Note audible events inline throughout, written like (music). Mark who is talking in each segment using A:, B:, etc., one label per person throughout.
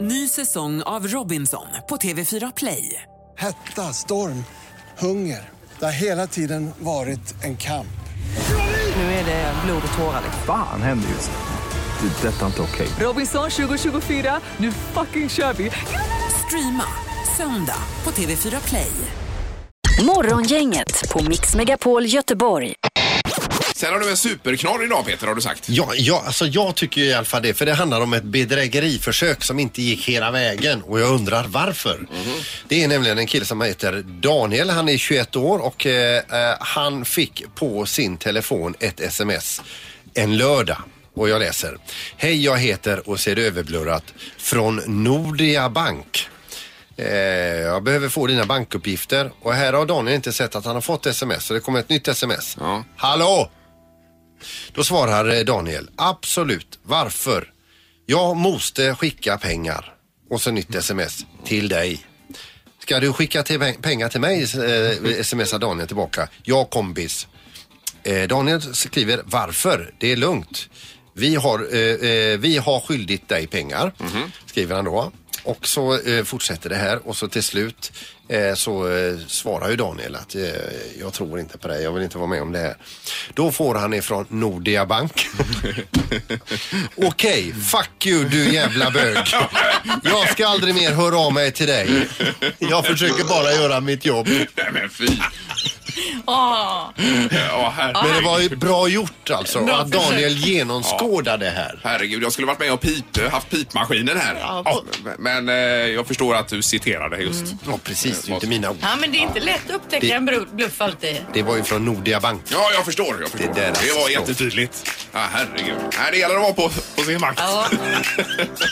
A: Ny säsong av Robinson på TV4 Play.
B: Hetta, storm, hunger. Det har hela tiden varit en kamp.
A: Nu är det blod och tårar.
C: Fan händer just nu. Det. är Detta är inte okej.
A: Robinson 2024, nu fucking kör vi! Streama söndag på TV4 Play.
D: Morgongänget på Mix Megapol Göteborg.
E: Sen har du en superknorr idag Peter har du sagt.
F: Ja, ja, alltså jag tycker ju i alla fall det, för det handlar om ett bedrägeriförsök som inte gick hela vägen och jag undrar varför. Det är nämligen en kille som heter Daniel, han är 21 år och eh, eh, han fick på sin telefon ett sms en lördag. Och jag läser. Hej, jag heter och ser överblurrat från Nordea Bank. Eh, jag behöver få dina bankuppgifter och här har Daniel inte sett att han har fått sms så det kommer ett nytt sms.
E: Ja.
F: Hallå! Då svarar eh, Daniel, absolut, varför? Jag måste skicka pengar. Och så nytt sms, till dig. Ska du skicka till peng- pengar till mig? Eh, smsar Daniel tillbaka. Ja kompis. Eh, Daniel skriver, varför? Det är lugnt. Vi har, eh, eh, vi har skyldigt dig pengar, skriver han då. Och så eh, fortsätter det här och så till slut eh, så eh, svarar ju Daniel att eh, jag tror inte på dig, jag vill inte vara med om det här. Då får han ifrån Nordea Bank. Okej, fuck you du jävla bög. Jag ska aldrig mer höra av mig till dig. Jag försöker bara göra mitt jobb.
E: Nej men fy. Ja,
F: Men det
E: herregud.
F: var ju bra gjort alltså att Daniel genomskådade det här.
E: herregud, jag skulle varit med och pip, haft pipmaskinen här. Ja, men eh, jag förstår att du citerade just.
G: Mm.
F: Ja, precis. Det är inte mina ord.
G: Ja, men det är inte lätt att upptäcka
F: Det-
G: en bru- bluff alltid.
F: Det var ju från Nordea Bank.
E: Ja, jag förstår. Jag förstår.
F: Det där
E: det var
F: alltså.
E: jättetydligt. Ja, herregud. Nej, det gäller att vara på, på sin makt.
G: Ja.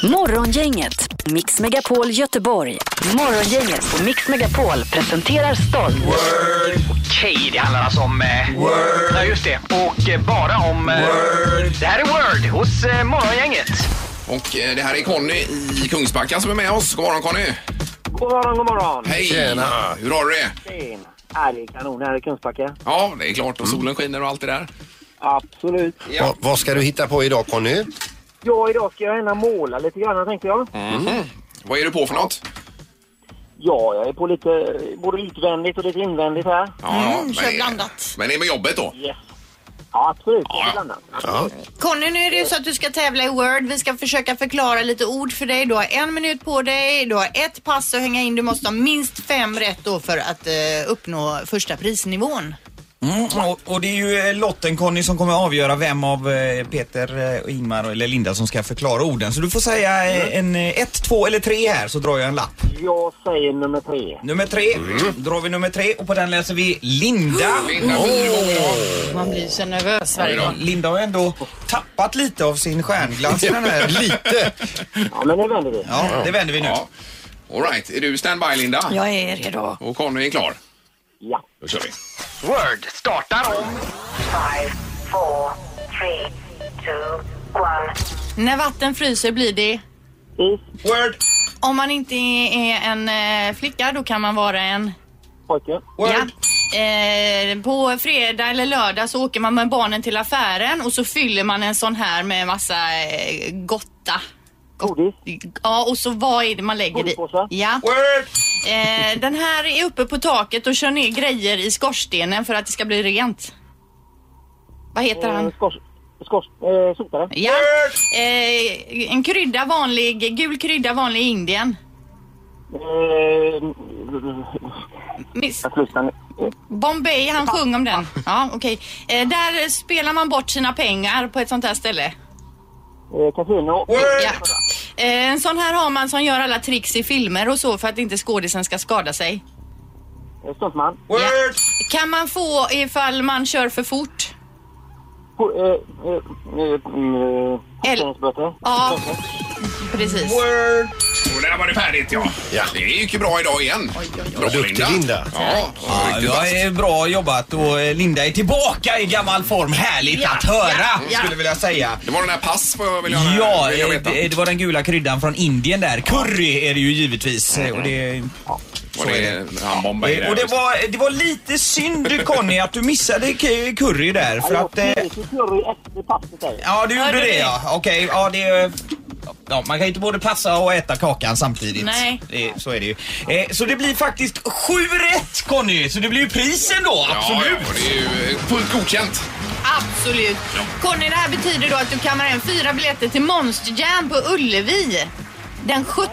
D: Morgongänget, Mix Megapol Göteborg. Morgongänget på Mix Megapol presenterar stolt.
H: Okej, det handlar alltså om... Eh, Word! Ja, just det. Och eh, bara om... Eh, Word! Det här är Word hos eh, Morgongänget.
E: (laughs) Och eh, det här är Conny i Kungsbacka som är med oss. God morgon Conny.
I: God morgon, god morgon.
E: Hej.
F: Tjena.
E: Hur har du det?
I: Tjena. Ja, det är kanon här i Kungsbacka.
E: Ja, det är klart. Och
F: Mm.
E: solen skiner och allt det där.
I: Absolut.
F: Va- vad ska du hitta på idag Conny?
I: Ja, idag ska jag gärna måla lite grann tänkte jag.
E: Mm. Vad är du på för något?
I: Ja, jag är på lite både utvändigt och lite invändigt här.
E: Ja,
G: Mm, kör blandat.
E: Men det är med jobbet då?
I: Yes. Ja, absolut.
E: Ja, ja.
I: Bland annat.
F: Ja.
G: Conny, nu är det ju så att du ska tävla i Word. Vi ska försöka förklara lite ord för dig. Du har en minut på dig. Du har ett pass att hänga in. Du måste ha minst fem rätt då för att eh, uppnå första prisnivån.
J: Mm, och, och det är ju eh, lotten Conny som kommer avgöra vem av eh, Peter, eh, och Ingmar eller Linda som ska förklara orden. Så du får säga eh, en eh, ett, två eller tre här så drar jag en lapp.
I: Jag säger nummer tre.
J: Nummer tre, drar vi nummer tre och på den läser vi Linda.
E: Mm. Linda, oh.
G: Man blir så nervös varje
E: Oj då.
G: gång.
J: Linda har ändå tappat lite av sin stjärnglans den
E: (laughs)
J: här.
F: Lite.
I: Ja, men nu vänder vi.
J: Ja, det vänder vi nu.
E: ja. All right, är du standby Linda?
G: Jag är redo.
E: Och Conny är klar?
I: Ja.
E: Då kör vi.
H: Word startar om...
K: Five, four, three, two, one.
G: När vatten fryser blir det...
I: Is,
J: Word,
G: Om man inte är en eh, flicka, då kan man vara en...
I: pojke.
J: word,
G: Ja. Eh, på fredag eller lördag så åker man med barnen till affären och så fyller man en sån här med massa eh, gotta.
I: Godis.
G: Ja, och så vad är det man lägger i?
I: Godispåse?
G: Ja.
J: word,
G: Eh, den här är uppe på taket och kör ner grejer i skorstenen för att det ska bli rent. Vad heter han?
I: Eh, Skors... Skors... Eh, sotare.
G: Ja. Eh, en krydda vanlig, gul krydda vanlig i Indien.
I: Eh,
G: Miss
I: jag slutar nu. Eh,
G: Bombay, han sjöng om den. Ja, okej. Eh, där spelar man bort sina pengar på ett sånt här ställe.
I: Eh, kasino.
G: Ja. Eh, en sån här har man som gör alla tricks i filmer och så för att inte skådisen ska skada sig.
I: Eh, Stuntman.
J: word,
G: Kan man få ifall man kör för fort?
I: Po- eh, eh, eh, eh, Parkeringsböter.
G: Ja, precis.
J: word.
E: Och där var det färdigt ja.
F: Ja.
E: Det gick ju bra idag igen. Bra
F: Vad duktig Linda.
E: Ja,
J: Ja,
E: riktigt vass.
J: det är bra jobbat och eh, Linda är tillbaka i gammal form. Härligt
G: Ja,
J: att höra,
G: ja, ja.
J: skulle vilja säga.
E: Det var den här pass vad jag vill göra.
J: Ja,
E: vill jag
J: eh,
E: veta.
J: det, det var den gula kryddan från Indien där. Curry är det ju givetvis. eh, Och det,
E: Var det han Bombay
J: eh,
E: där?
J: och det, var, det var lite synd Conny att du missade k- curry där för att... eh,
I: Jag fick curry efter passet. säger jag.
J: Ja, du gjorde
G: Hörde
J: det
G: du?
J: ja. Okej, ja det... eh, Ja, man kan ju inte både passa och äta kakan samtidigt.
G: Nej.
J: Det, så är det ju. Eh, så det blir faktiskt sju rätt Conny, så det blir ju prisen då. Absolut.
E: Ja, det är ju eh, fullt godkänt.
G: Absolut. Conny, det här betyder då att du kammar hem fyra biljetter till Monsterjam på Ullevi den 17.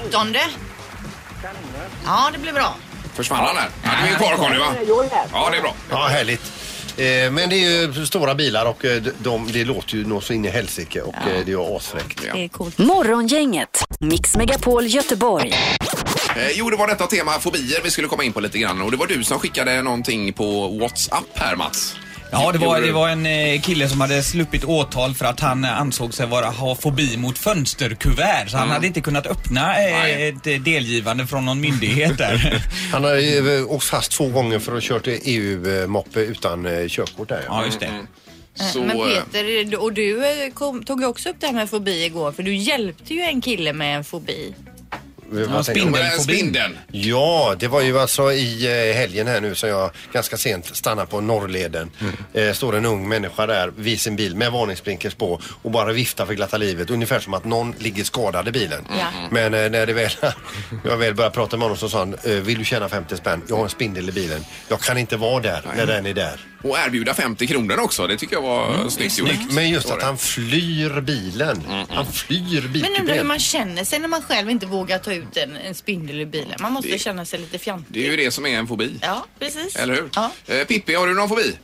G: Ja, det blir bra.
E: Försvann han här? Ja, du är kvar Conny va? Ja, det är bra.
F: Ja, härligt. Eh, Men det är ju stora bilar och eh, de, de, det låter ju nog så in i helsike och eh, det är ju asfräckt.
D: Morgongänget, Mix Megapol Göteborg.
E: Eh, jo, det var detta tema fobier vi skulle komma in på lite grann och det var du som skickade någonting på WhatsApp här Mats.
J: Ja, det var,
E: Gjorde
J: det
E: du?
J: var en eh, kille som hade sluppit åtal för att han eh, ansåg sig vara, ha fobi mot fönsterkuvert.
E: Mm.
J: Så han hade inte kunnat öppna eh, ett eh, delgivande från någon myndighet där.
E: (laughs)
F: Han har ju eh, åkt fast två gånger för att ha kört E EU-moppe utan eh, körkort där.
J: Ja, just det.
E: Mm, Så, eh,
G: Men Peter, och du eh, kom, tog ju också upp det här med fobi igår för du hjälpte ju en kille med en fobi.
F: Ja,
E: Men Spindeln.
F: Ja, det var ju alltså i eh, helgen här nu som jag ganska sent stannade på Norrleden. Eh, står en ung människa där vid sin bil med varningsblinkers på och bara viftar för glatta livet. Ungefär som att någon ligger skadad i bilen.
G: Ja.
F: Men eh, när det väl, (laughs) jag väl började prata med honom så sa han, eh, vill du tjäna 50 spänn? Jag har en spindel i bilen. Jag kan inte vara där när den är där.
E: Och erbjuda 50 kronor också. Det tycker jag var snyggt gjort.
F: Men just att han flyr bilen. Han flyr
G: Men undrar hur
F: bilkupén.
G: man känner sig när man själv inte vågar ta ut en, en spindel ur bilen. Man måste känna sig lite fjantig.
E: Det är ju det som är en fobi.
G: Ja, precis.
E: Eller hur?
G: Ja.
E: Eh, Pippi, har du någon fobi?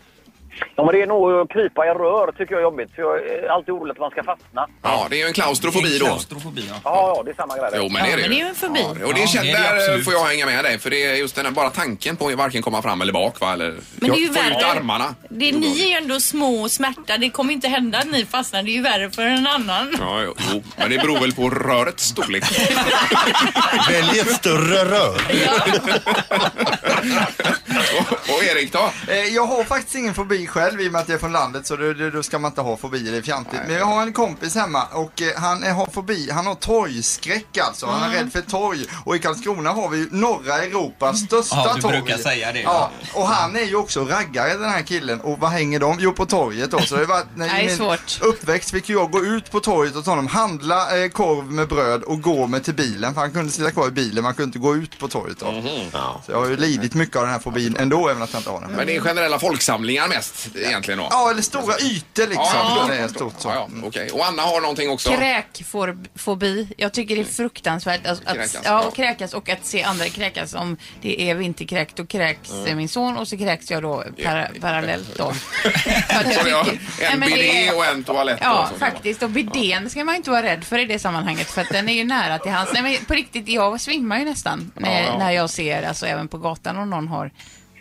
I: Ja, men det är nog att krypa i rör tycker jag är jobbigt. För jag är alltid orolig att man ska fastna.
E: Ja, det är ju en klaustrofobi då.
J: Klaustrofobi, ja.
I: Ja, ja, det är samma grej. där.
E: Jo, men
G: Ja,
E: det är det
G: men det är ju en fobi.
E: Ja, och det
J: Ja,
E: känner,
J: det är det
E: där
J: absolut.
E: får jag hänga med dig för det är just den här bara tanken på att varken komma fram eller bak va? Eller
G: Men det är ju
E: få ut
G: värre.
E: armarna.
G: Det, ni är ju ändå små och smärta. Det kommer inte hända att ni fastnar. Det är ju värre för en annan.
E: Ja, jo, jo, men det beror väl på
G: (laughs)
E: rörets storlek.
F: Välj ett större rör.
E: och, och Erik då?
L: Eh, Jag har faktiskt ingen fobi själv i och med att jag är från landet så då, då- då ska man inte ha fobier, det är fjantigt. Men jag har en kompis hemma och eh, han är, har fobi, han har torgskräck alltså.
M: Mm.
L: Han är rädd för torg. Och i Karlskrona har vi ju norra Europas största
J: Ja, du
L: torg.
J: brukar säga det.
L: Ja, och han är ju också raggare den här killen. Och vad hänger de? Jo, på torget då. Så det var,
J: (laughs)
L: när
G: Nej,
L: i min
G: svårt.
L: uppväxt fick jag gå ut på torget och ta honom, handla eh, korv med bröd och gå med till bilen. För han kunde sitta kvar i bilen, man kunde inte gå ut på torget då. Så jag har ju lidit mycket av den här fobin ändå, även att jag inte har den.
E: Men det är generella folksamlingar mest egentligen då?
L: Ja, eller stora ytor liksom.
E: Ja,
L: det är stort så.
E: Ja, ja, okej. Och Anna har någonting också?
N: Kräkfobi. Jag tycker det är fruktansvärt att,
E: Mm. Kräkas,
N: att, ja, och kräkas och att se andra kräkas. Om det är vinterkräkt, då kräks
E: Mm.
N: eh, min son och så kräks jag då para, parallellt då. (laughs) För att
E: Så
N: jag
E: vi har
N: tycker- Nej,
E: en
N: men det
E: bidé
N: är-
E: och en toalett.
N: Ja,
E: och så.
N: faktiskt. Och bidén ska man ju inte vara rädd för i det sammanhanget för att den är ju nära till hans. Nej, men på riktigt, jag svimmar ju nästan när,
E: Ja, ja.
N: när jag ser, alltså även på gatan om någon har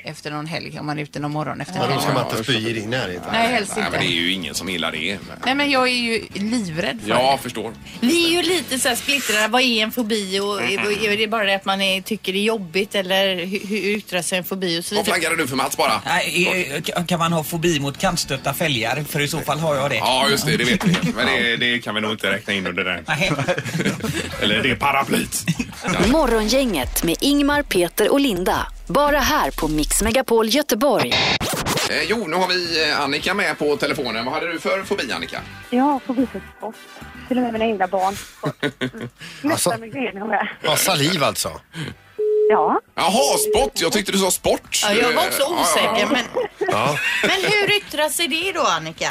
N: efter någon helg, om man är ute någon morgon efter
F: Ja,
N: helgen.
F: då ska man inte spy i din närhet.
N: Nej, helst
E: Nej,
N: inte.
E: men det är ju ingen som gillar det.
N: Nej, men jag är ju livrädd för
E: Ja, förstår.
G: Vi är ju lite så här splittrade. Vad är en fobi? Och
E: Mm.
G: är det bara det att man är, tycker det är jobbigt? Eller hur, hur yttrar sig en fobi och så
E: Vad
G: vidare?
E: flaggade du för Mats bara?
J: Nej, eh, kan- kan man ha fobi mot kantstötta fälgar? För i så fall har jag det.
E: Ja, just det, det vet vi. Men det, det kan vi nog inte räkna in under den.
J: Nej.
E: Eller det paraplyt.
D: Morgongänget med Ingmar, Peter och Linda. Bara här på Mix Megapol Göteborg.
E: Eh, jo, nu har vi eh, Annika med på telefonen. Vad hade du för fobi, Annika?
K: Jag har fobi för spott. Till och med mina egna barn.
F: Alltså,
K: Nästan migrän har jag.
F: ja, saliv alltså.
K: Ja.
E: Jaha, sport. Jag tyckte du sa sport.
G: Ja, jag var också
E: Eh, ja, ja, ja.
G: osäker. Men,
F: Ja.
G: men hur yttrar sig det då, Annika?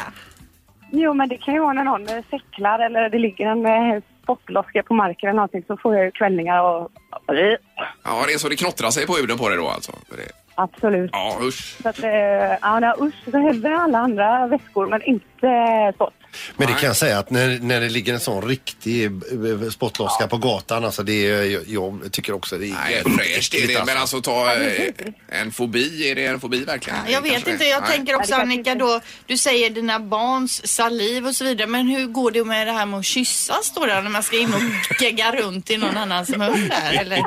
K: Jo, men det kan ju vara när någon eh, säcklar eller det ligger en eh, spottloska på marken eller någonting så får jag ju kvällningar och...
E: Ja, det är så det knottrar sig på huden på dig då alltså. Det,
K: Absolut.
E: ja, usch.
K: Så att, eh, ja, nej, usch, så händer alla andra väskor men inte eh, spott.
F: Men det kan jag säga att när, när det ligger en sån riktig eh, spottloska på gatan, alltså det är, jag, jag tycker också det är
E: Nej, (laughs)
F: jävligt
E: fräscht är
F: äckligt,
E: det. Men
F: alltså.
E: alltså ta eh, en fobi. Är det en fobi verkligen?
G: Jag vet
E: Kanske
G: inte.
E: det.
G: Jag
E: Nej.
G: tänker också, Annika, då, du säger dina barns saliv och så vidare. Men hur går det med det här med att kyssas då, där, när man ska in och (laughs) gegga runt i någon annans mun där?
E: (laughs)
G: Eller?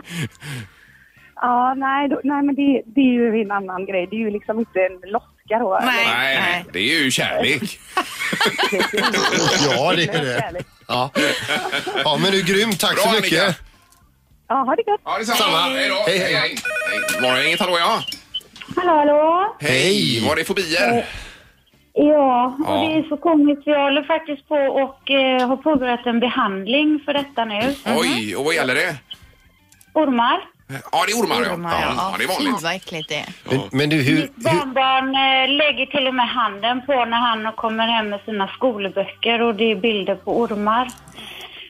K: Ja, nej, då, nej men det, det är ju en annan grej. Det är ju liksom inte en loska då.
G: Nej.
E: Nej, nej, det är ju kärlek.
F: Ja, det är det. Ja. ja, men du är grym. Tack
E: Bra,
F: så mycket.
E: Annika.
K: Ja, ha det gött.
E: Ja, detsamma.
F: Samma.
E: Hej då. Hej,
F: Hej,
E: hej.
F: hej.
E: hej. Morgongänget, hallå ja.
K: Hallå, hallå.
E: Hej. Var det fobier?
O: Ja, och
E: Ja.
O: det är så komiskt. Jag håller faktiskt på och eh, har påbörjat en behandling för detta nu.
E: Oj, och vad gäller det?
O: Ormar.
E: Ja, det är ormar, ja.
O: Ormar,
E: ja. Ja, det är vanligt.
O: Fy, vad äckligt det är.
F: Men, men du, hur...
O: Mitt barnbarn eh, lägger till och med handen på när han kommer hem med sina skolböcker och det är bilder på ormar.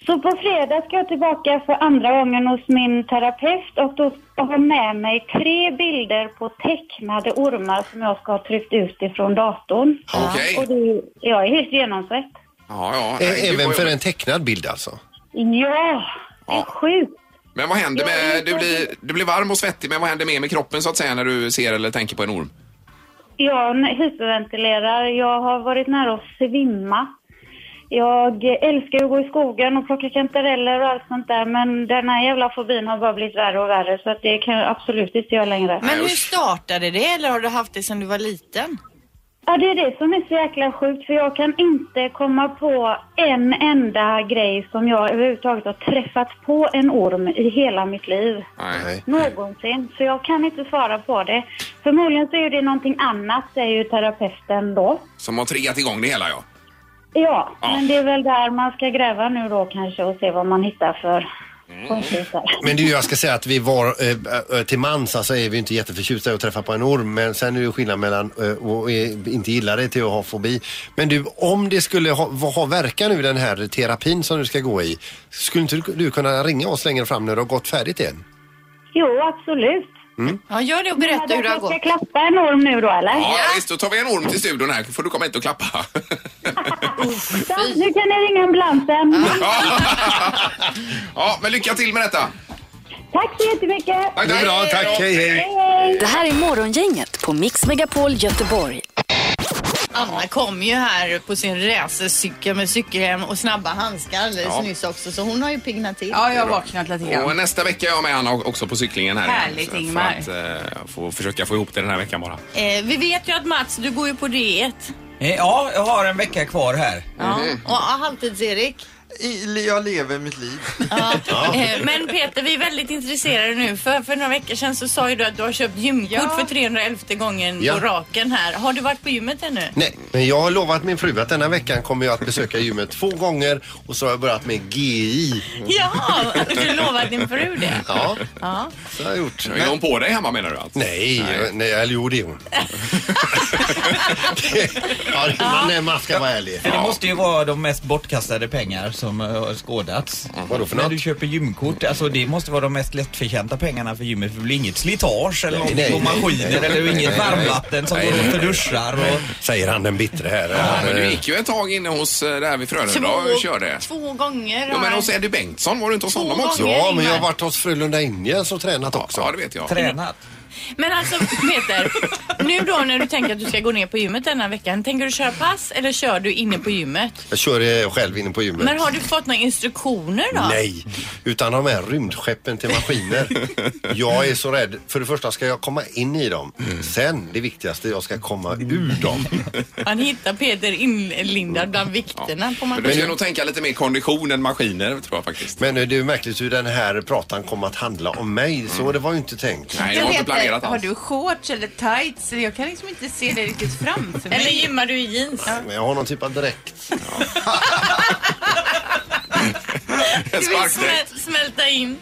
O: Så på fredag ska jag tillbaka för andra gången hos min terapeut och då har jag med mig tre bilder på tecknade ormar som jag ska ha tryckt ut ifrån datorn.
E: Okej.
O: Och det, jag är helt genomsvett.
E: Ja, ja.
F: Ä-
E: Nej, gud,
F: Även
E: vad
F: för
E: jobbigt.
F: en tecknad bild alltså?
O: Ja, det är sjukt.
E: Men vad händer med... Du blir, du blir varm och svettig, men vad händer mer med kroppen så att säga när du ser eller tänker på en orm?
O: Jag hyperventilerar. Jag har varit nära att svimma. Jag älskar att gå i skogen och plocka kantareller och allt sånt där men den här jävla fobin har bara blivit värre och värre så att det kan jag absolut inte göra längre.
G: Men hur startade det eller har du haft det sedan du var liten?
O: Ja, det är det som är så jäkla sjukt för jag kan inte komma på en enda grej som jag överhuvudtaget har träffat på en orm i hela mitt liv.
E: Nej.
O: Någonsin. Så jag kan inte svara på det. Förmodligen så är det någonting annat, säger ju terapeuten då.
E: Som har triggat igång det hela, ja.
O: Ja,
E: Ja.
O: men det är väl där man ska gräva nu då kanske och se vad man hittar för
E: Mm.
O: konstigheter.
F: Men du, jag ska säga att vi var, eh, eh, till mans alltså är vi inte jätteförtjusta i att träffa på en orm. Men sen är det ju skillnad mellan eh, och eh, inte gilla det till att ha fobi. Men du, om det skulle ha, vad ha verkan nu den här terapin som du ska gå i. Skulle inte du- du kunna ringa oss längre fram när du har gått färdigt igen?
O: Jo, absolut.
F: Mm.
G: Ja, gör det och
O: berätta
G: hur det har
O: Ska jag klappa en orm nu då eller?
E: Ja, visst, då tar vi en orm till studion här, får du komma hit
O: (laughs)
E: och klappa.
O: Så, nu kan ni ringa ambulansen.
E: (laughs) Ja, men lycka till med detta.
O: Tack så jättemycket.
E: Tack, tack. Bra, tack. Hej, hej.
D: Det här är Morgongänget på Mix Megapol Göteborg.
G: Anna kom ju här på sin racercykel med cykelhjälm och snabba handskar alldeles
E: Ja.
G: nyss också så hon har ju piggnat till.
N: Ja, jag har vaknat lite
E: Och nästa vecka är jag med Anna också på cyklingen här. igen.
G: Härligt,
E: Så-
G: Ingmar.
E: För att eh, få, försöka få ihop det den här veckan bara.
G: Eh, vi vet ju att Mats, du går ju på E. diet.
J: Eh, Ja, jag har en vecka kvar här.
G: Ja. Och ja, halvtids-Erik.
L: Jag lever mitt liv.
J: Ja.
G: (laughs) Eh, Men Peter, vi är väldigt intresserade nu. För, för några veckor sedan så sa ju du att du har köpt gymkort för 311 gången
F: Ja. Mm.
G: på raken här. Har du varit på gymmet ännu?
F: Nej, men jag har lovat min fru att denna veckan kommer jag att besöka gymmet två gånger och så har jag börjat med GI.
G: Ja, du lovat din fru det.
F: Ja,
G: Ja.
F: så har jag gjort.
E: Är hon på dig hemma menar du? Alltså?
F: Nej, jag- nej, eller jo det är hon. (laughs) ja, det- man, nej, man ska vara ärlig.
J: För det måste ju vara de mest bortkastade pengar som eh, har skådats.
F: Vadå för
J: När
F: något?
J: du köper gymkort, alltså det måste vara de mest lättförtjänta pengarna för gymmet. För det blir inget slitage eller
F: Nej,
J: någonting
F: nej,
J: på
F: nej,
J: maskiner
F: nej,
J: eller
F: nej,
J: inget
F: nej,
J: varmvatten som
F: nej,
J: går åt för
F: nej,
J: duschar och...
F: Säger han den bittre här.
E: Ja,
F: Han,
E: men du
F: eh,
E: gick ju ett tag inne hos eh, det här vid Frölunda och körde.
G: två gånger.
E: Ja, men hos Eddie Bengtsson, var du inte hos
G: Två
E: honom också?
G: gånger,
F: Ja, men jag har varit hos Frölunda Indians och tränat också. Ja,
E: det vet jag.
J: Tränat?
G: Men alltså Peter, nu då när du tänker att du ska gå ner på gymmet denna veckan, tänker du köra pass eller kör du inne på gymmet?
F: Jag kör eh, själv inne på gymmet.
G: Men har du fått några instruktioner då?
F: Nej, utan de här rymdskeppen till
E: (laughs)
F: maskiner. jag är så rädd. För det första ska jag komma in i dem.
E: Mm.
F: Sen, det viktigaste, jag ska komma ur
E: (laughs)
F: dem.
G: Man hittar Peter inlindad bland vikterna på
E: Men du ska
G: maskinen.
E: nog tänka lite mer kondition än maskiner, tror jag faktiskt.
F: Men eh, det är ju märkligt hur den här pratan kom att handla om mig. Så
E: Mm.
F: det var ju inte tänkt.
E: Nej,
N: Du, Peter, Har
E: (laughs)
N: du shorts eller tights? Jag kan liksom inte se det riktigt framför mig.
G: Eller gymmar du i jeans?
F: Men jag har någon typ av dräkt.
G: Du vill
E: Sparkdräkt.
G: smä- smälta in.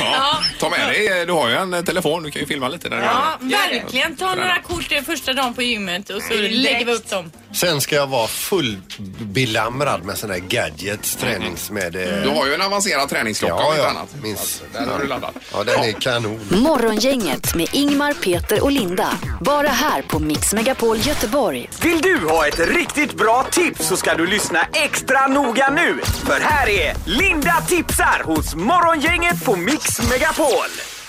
E: Ja. Ta med dig, du har ju en eh, telefon, du kan ju filma lite där.
G: Ja, verkligen. Ta några kort den första dagen på gymmet och så lägger vi upp dem.
F: Sen ska jag vara fullbelamrad med sådana här gadgets,
E: Mm.
F: tränings med... eh,
E: Du har ju en avancerad träningsklocka om
F: Ja,
E: inte
F: ja.
E: annat.
F: Minst.
E: Där har du laddat.
F: Ja, den är kanon.
D: Morgongänget med Ingmar, Peter och Linda. Bara här på Mix Megapol Göteborg.
P: Vill du ha ett riktigt bra tips så ska du lyssna extra noga nu. För här är Linda tipsar hos Morgongänget på Mix Megapol.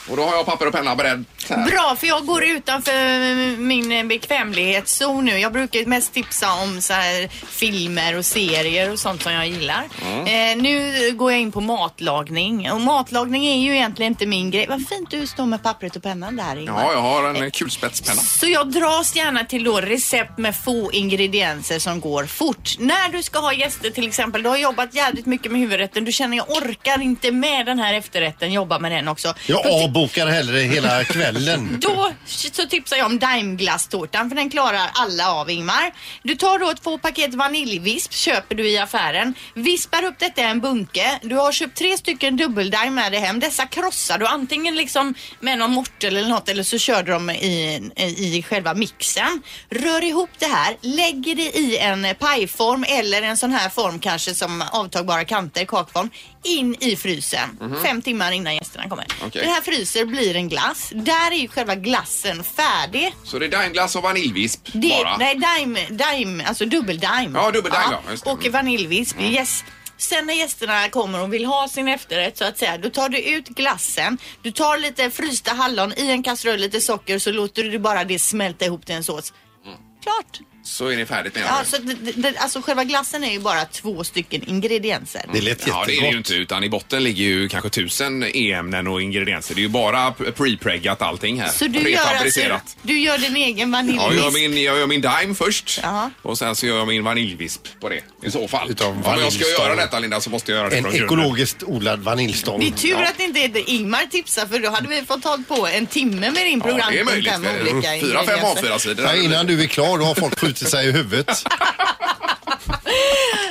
E: Och då har jag papper och penna beredd. här.
G: Bra, för jag går utanför min bekvämlighetszon nu. Jag brukar ju mest tipsa om så här filmer och serier och sånt som jag gillar.
E: Mm.
G: Eh, nu går jag in på matlagning och matlagning är ju egentligen inte min grej. Vad fint du står med pappret och pennan där Ingmar.
E: Ja, jag har en eh, kulspetspenna.
G: Så jag dras gärna till då recept med få ingredienser som går fort. När du ska ha gäster till exempel, du har jobbat jävligt mycket med huvudrätten, du känner jag orkar inte med den här efterrätten, jobba med den också.
F: Jag avbokar hellre hela Kvällen.
G: Då så tipsar jag om Daimglasstårtan för den klarar alla av Ingmar. Du tar då två paket vaniljvisp köper du i affären. Vispar upp detta i en bunke. Du har köpt tre stycken dubbeldaim med dig hem. Dessa krossar du antingen liksom med någon mortel eller något eller så kör du dem i, i själva mixen. Rör ihop det här. Lägger det i en pajform eller en sån här form kanske som avtagbara kanter, kakform. In i frysen.
N: Mhm.
G: Fem timmar innan gästerna kommer.
E: Okej.
G: Det här fryser blir en glass. Där är ju själva glassen färdig.
E: Så det är daimglass och vaniljvisp
G: Det,
E: bara?
G: nej, dime, dime, alltså dubbeldaim.
E: Ja, dubbeldime, ja, just det. Mm.
G: Och vaniljvisp, yes. Sen när gästerna kommer och vill ha sin efterrätt så att säga, då tar du ut glassen. Du tar lite frysta hallon i en kastrull, lite socker, så låter du bara det smälta ihop till en sås.
E: Mm.
G: Klart!
E: Så är det färdigt menar
G: Ja,
E: du?
G: så det, det- det, alltså själva glassen är ju bara två stycken ingredienser.
E: Det lät Ja, det är det ju inte. Utan i botten ligger ju kanske tusen e-ämnen och ingredienser. Det är ju bara p- pre-preggat allting här.
G: Så du gör, alltså,
E: Prefabricerat.
G: du gör din egen
E: Ja, jag, gör
G: vaniljvisp?
E: min, jag gör min daim först
G: Ja.
E: och sen så gör jag min vaniljvisp på det. I så fall. Om jag ska
F: vaniljstång.
E: göra detta Linda så måste jag göra det
F: En
E: från grunden.
F: ekologiskt odlad vaniljstång.
G: Det är tur att inte är det Ingmar tipsar för då hade vi fått tag på en timme med din
F: Ja, det är
G: programpunkt
F: möjligt.
G: här med
F: Mm.
G: olika
F: Fyra, fem
G: ingredienser.
F: A4-sidor. Nej, innan du är klar då har folk skjutit sig i huvudet.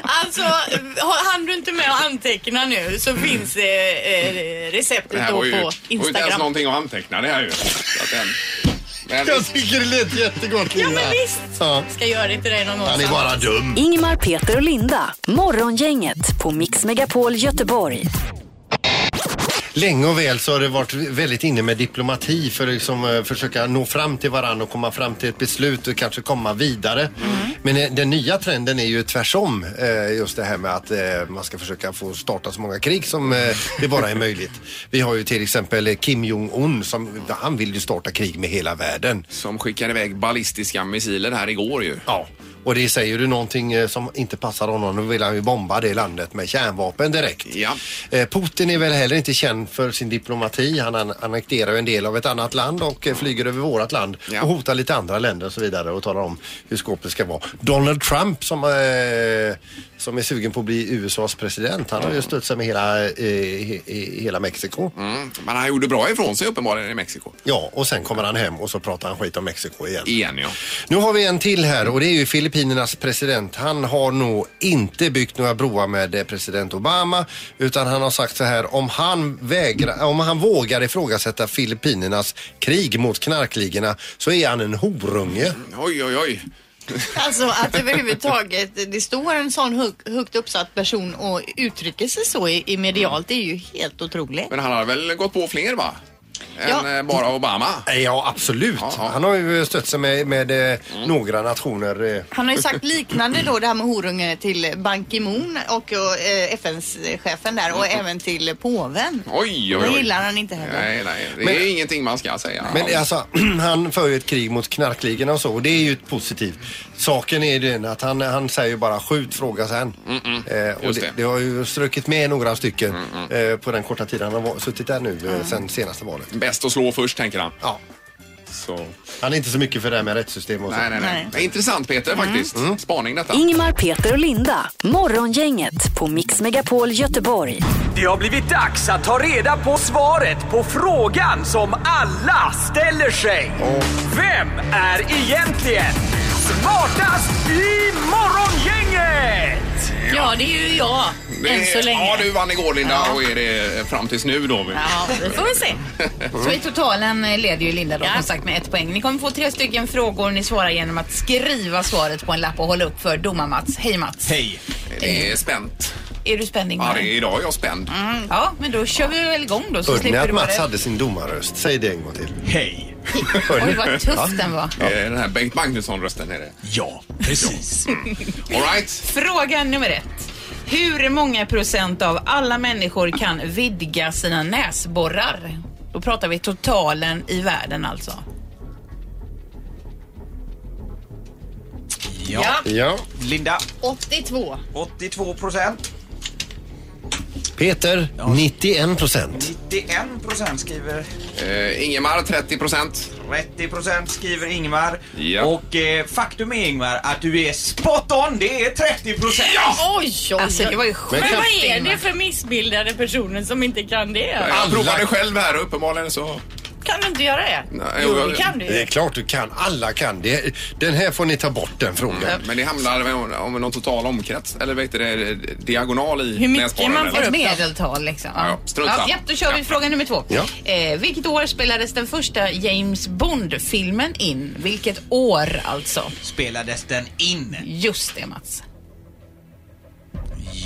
G: Alltså, har- hann du inte med att anteckna nu så finns eh, eh,
E: Det
G: receptet
E: här
G: då
E: var ju,
G: på
E: var ju inte ens
G: Instagram.
E: någonting att anteckna det här ju. Så att den, men,
F: Jag tycker det lät jättegott
G: Ja
F: Linda.
G: men visst!
F: Ja.
G: Ska göra det till dig någon gång.
F: Han är
G: Sandra.
F: bara dum.
D: Ingmar, Peter och Linda. Morgongänget på Mix Megapol Göteborg.
F: Länge och väl så har det varit väldigt inne med diplomati för att liksom, eh, försöka nå fram till varandra och komma fram till ett beslut och kanske komma vidare. Men eh, den nya trenden är ju tvärsom. eh, Just det här med att eh, man ska försöka få starta så många krig som eh, det bara är möjligt. Vi har ju till exempel Kim Jong-Un som han vill ju starta krig med hela världen.
E: Som skickar iväg ballistiska missiler här igår ju.
F: Ja. Och det säger du någonting eh, som inte passar honom, då vill han ju bomba det landet med kärnvapen direkt. Eh, Putin är väl heller inte känd för sin diplomati. Han an- annekterar ju en del av ett annat land och eh, flyger över vårt land och hotar lite andra länder och så vidare och talar om hur skåpet ska vara. Donald Trump som, eh, som är sugen på att bli USAs president, han har ju stött sig med hela, eh, he, he, hela Mexiko.
E: Mm. Men han gjorde bra ifrån sig uppenbarligen i Mexiko.
F: Ja, och sen kommer han hem och så pratar han skit om Mexiko igen.
E: Igen ja.
F: Nu har vi en till här och det är ju Filippinernas president. Han har nog inte byggt några broar med eh, president Obama utan han har sagt så här om han, vägrar, om han vågar ifrågasätta Filippinernas krig mot knarkligorna så är han en horunge.
E: Oj, oj, oj.
G: Alltså att överhuvudtaget det står en sån hög- högt uppsatt person och uttrycker sig så i, i medialt det är ju helt otroligt.
E: Men han har väl gått på fler va? Än
G: Ja.
E: eh, bara Obama?
F: Ja, absolut. Han har ju stött sig med, med eh, några nationer. eh.
G: Han har ju sagt liknande då det här med horunge till Ban Ki-Moon och, och eh, FNs-chefen där och även till påven.
E: Oj, oj,
G: Det
E: oj.
G: gillar han inte heller.
E: Nej, nej. Det
F: Men-
E: är ingenting man ska säga.
F: Men alltså, (clears throat) han för ju ett krig mot knarkligorna och så och det är ju positivt. Saken är ju den att han, han säger ju bara skjut, fråga sen. Eh, och
E: Mm, Just
F: det, det.
E: det. Mm,
F: har ju strukit med några stycken eh, på den korta tiden han har va- suttit där nu eh, sen senaste valet.
E: Bäst att slå först, tänker han.
F: Ja.
E: Så.
F: Han är inte så mycket för det här med rättssystem och så.
E: Nej, nej, nej. Det är Intressant Peter faktiskt.
F: Mm.
E: Spaning detta.
D: Ingmar, Peter och Linda. Morgongänget på Mix Megapol Göteborg.
P: Det har blivit dags att ta reda på svaret på frågan som alla ställer sig. Vem är egentligen smartast i Morgongänget?
G: Ja, det är ju jag. Än så länge.
E: Ja, du vann igår Linda och är det eh, fram tills nu då.
N: Ja, vi får väl
E: (laughs)
N: se. Så i totalen eh, leder ju Linda då som sagt med ett poäng. Ni kommer få tre stycken frågor ni svarar genom att skriva svaret på en lapp och hålla upp för domar-Mats. Hej Mats!
E: Hej! Det är spänt.
N: Är du spänd
E: Ja,
N: Ingmar?
E: det är idag är jag spänd.
N: Mm, ja, men då kör vi väl igång då så
F: Hörde ni
N: slipper
F: att
N: du vara
F: Mats
N: rädd.
F: hade sin domarröst? Säg det en gång till.
E: Hej!
N: Oj, vad tuff den var.
E: Ja. Eh, Den här Bengt Magnusson-rösten är det. Ja, precis. All right.
N: Fråga nummer ett. Hur många procent av alla människor kan vidga sina näsborrar? Då pratar vi totalen i världen alltså.
J: Ja.
F: ja.
J: Linda.
G: 82.
J: 82 procent.
F: Peter, 91 procent.
J: 91 procent skriver...
E: Eh, Ingemar 30 procent.
J: 30 procent skriver Ingmar.
E: Ja.
J: Och eh, faktum är Ingmar att du är spot on. Det är 30 procent.
G: Oj, oj, oj.
J: Alltså, det var ju
G: Men
J: sjukt,
G: vad är
J: Ingmar.
G: det för missbildade personer som inte kan det?
E: Jag provade själv här och uppenbarligen så
N: Kan du inte göra det? jo, det kan du
F: Det
N: ju.
F: är klart du kan. Alla kan. Det, den här får ni ta bort den frågan.
E: Men det handlar om, om någon total omkrets eller vet du det, diagonal i
N: Hur mycket
E: näsborren,
N: man
E: eller?
N: får upp medeltal liksom.
E: Ja, ja, strunt samma.
N: ja, då kör vi fråga nummer två.
E: Ja.
N: Eh, vilket år spelades den första James Bond-filmen in? Vilket år alltså?
J: Spelades den in?
N: Just det Mats.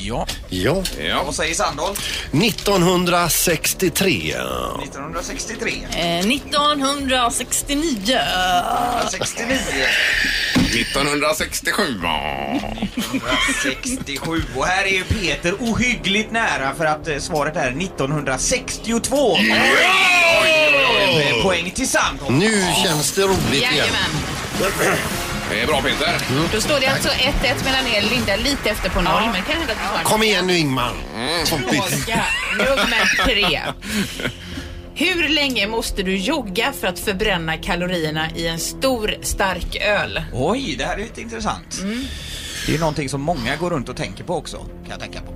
J: Ja.
F: Ja.
E: ja.
J: Vad säger Sandholt?
F: 1963.
J: 1963.
N: Eh, 1969.
J: 69.
E: 1967. ja.
J: 67 och här är ju Peter ohyggligt nära för att eh, svaret är 1962. Eh, Poäng till Sandholt.
F: Nu känns det roligt igen.
N: Jajamän.
E: Det är bra Peter.
N: Då står det alltså 1-1 mellan er och Linda, lite efter på noll. Men det kan hända att vi får en
F: Kom igen nu Ingmar. Kompis.
N: Fråga nummer tre. Hur länge måste du jogga för att förbränna kalorierna i en stor stark öl?
J: Oj, det här är lite intressant.
N: Mm.
J: Det är ju någonting som många går runt och tänker på också, kan jag tänka på.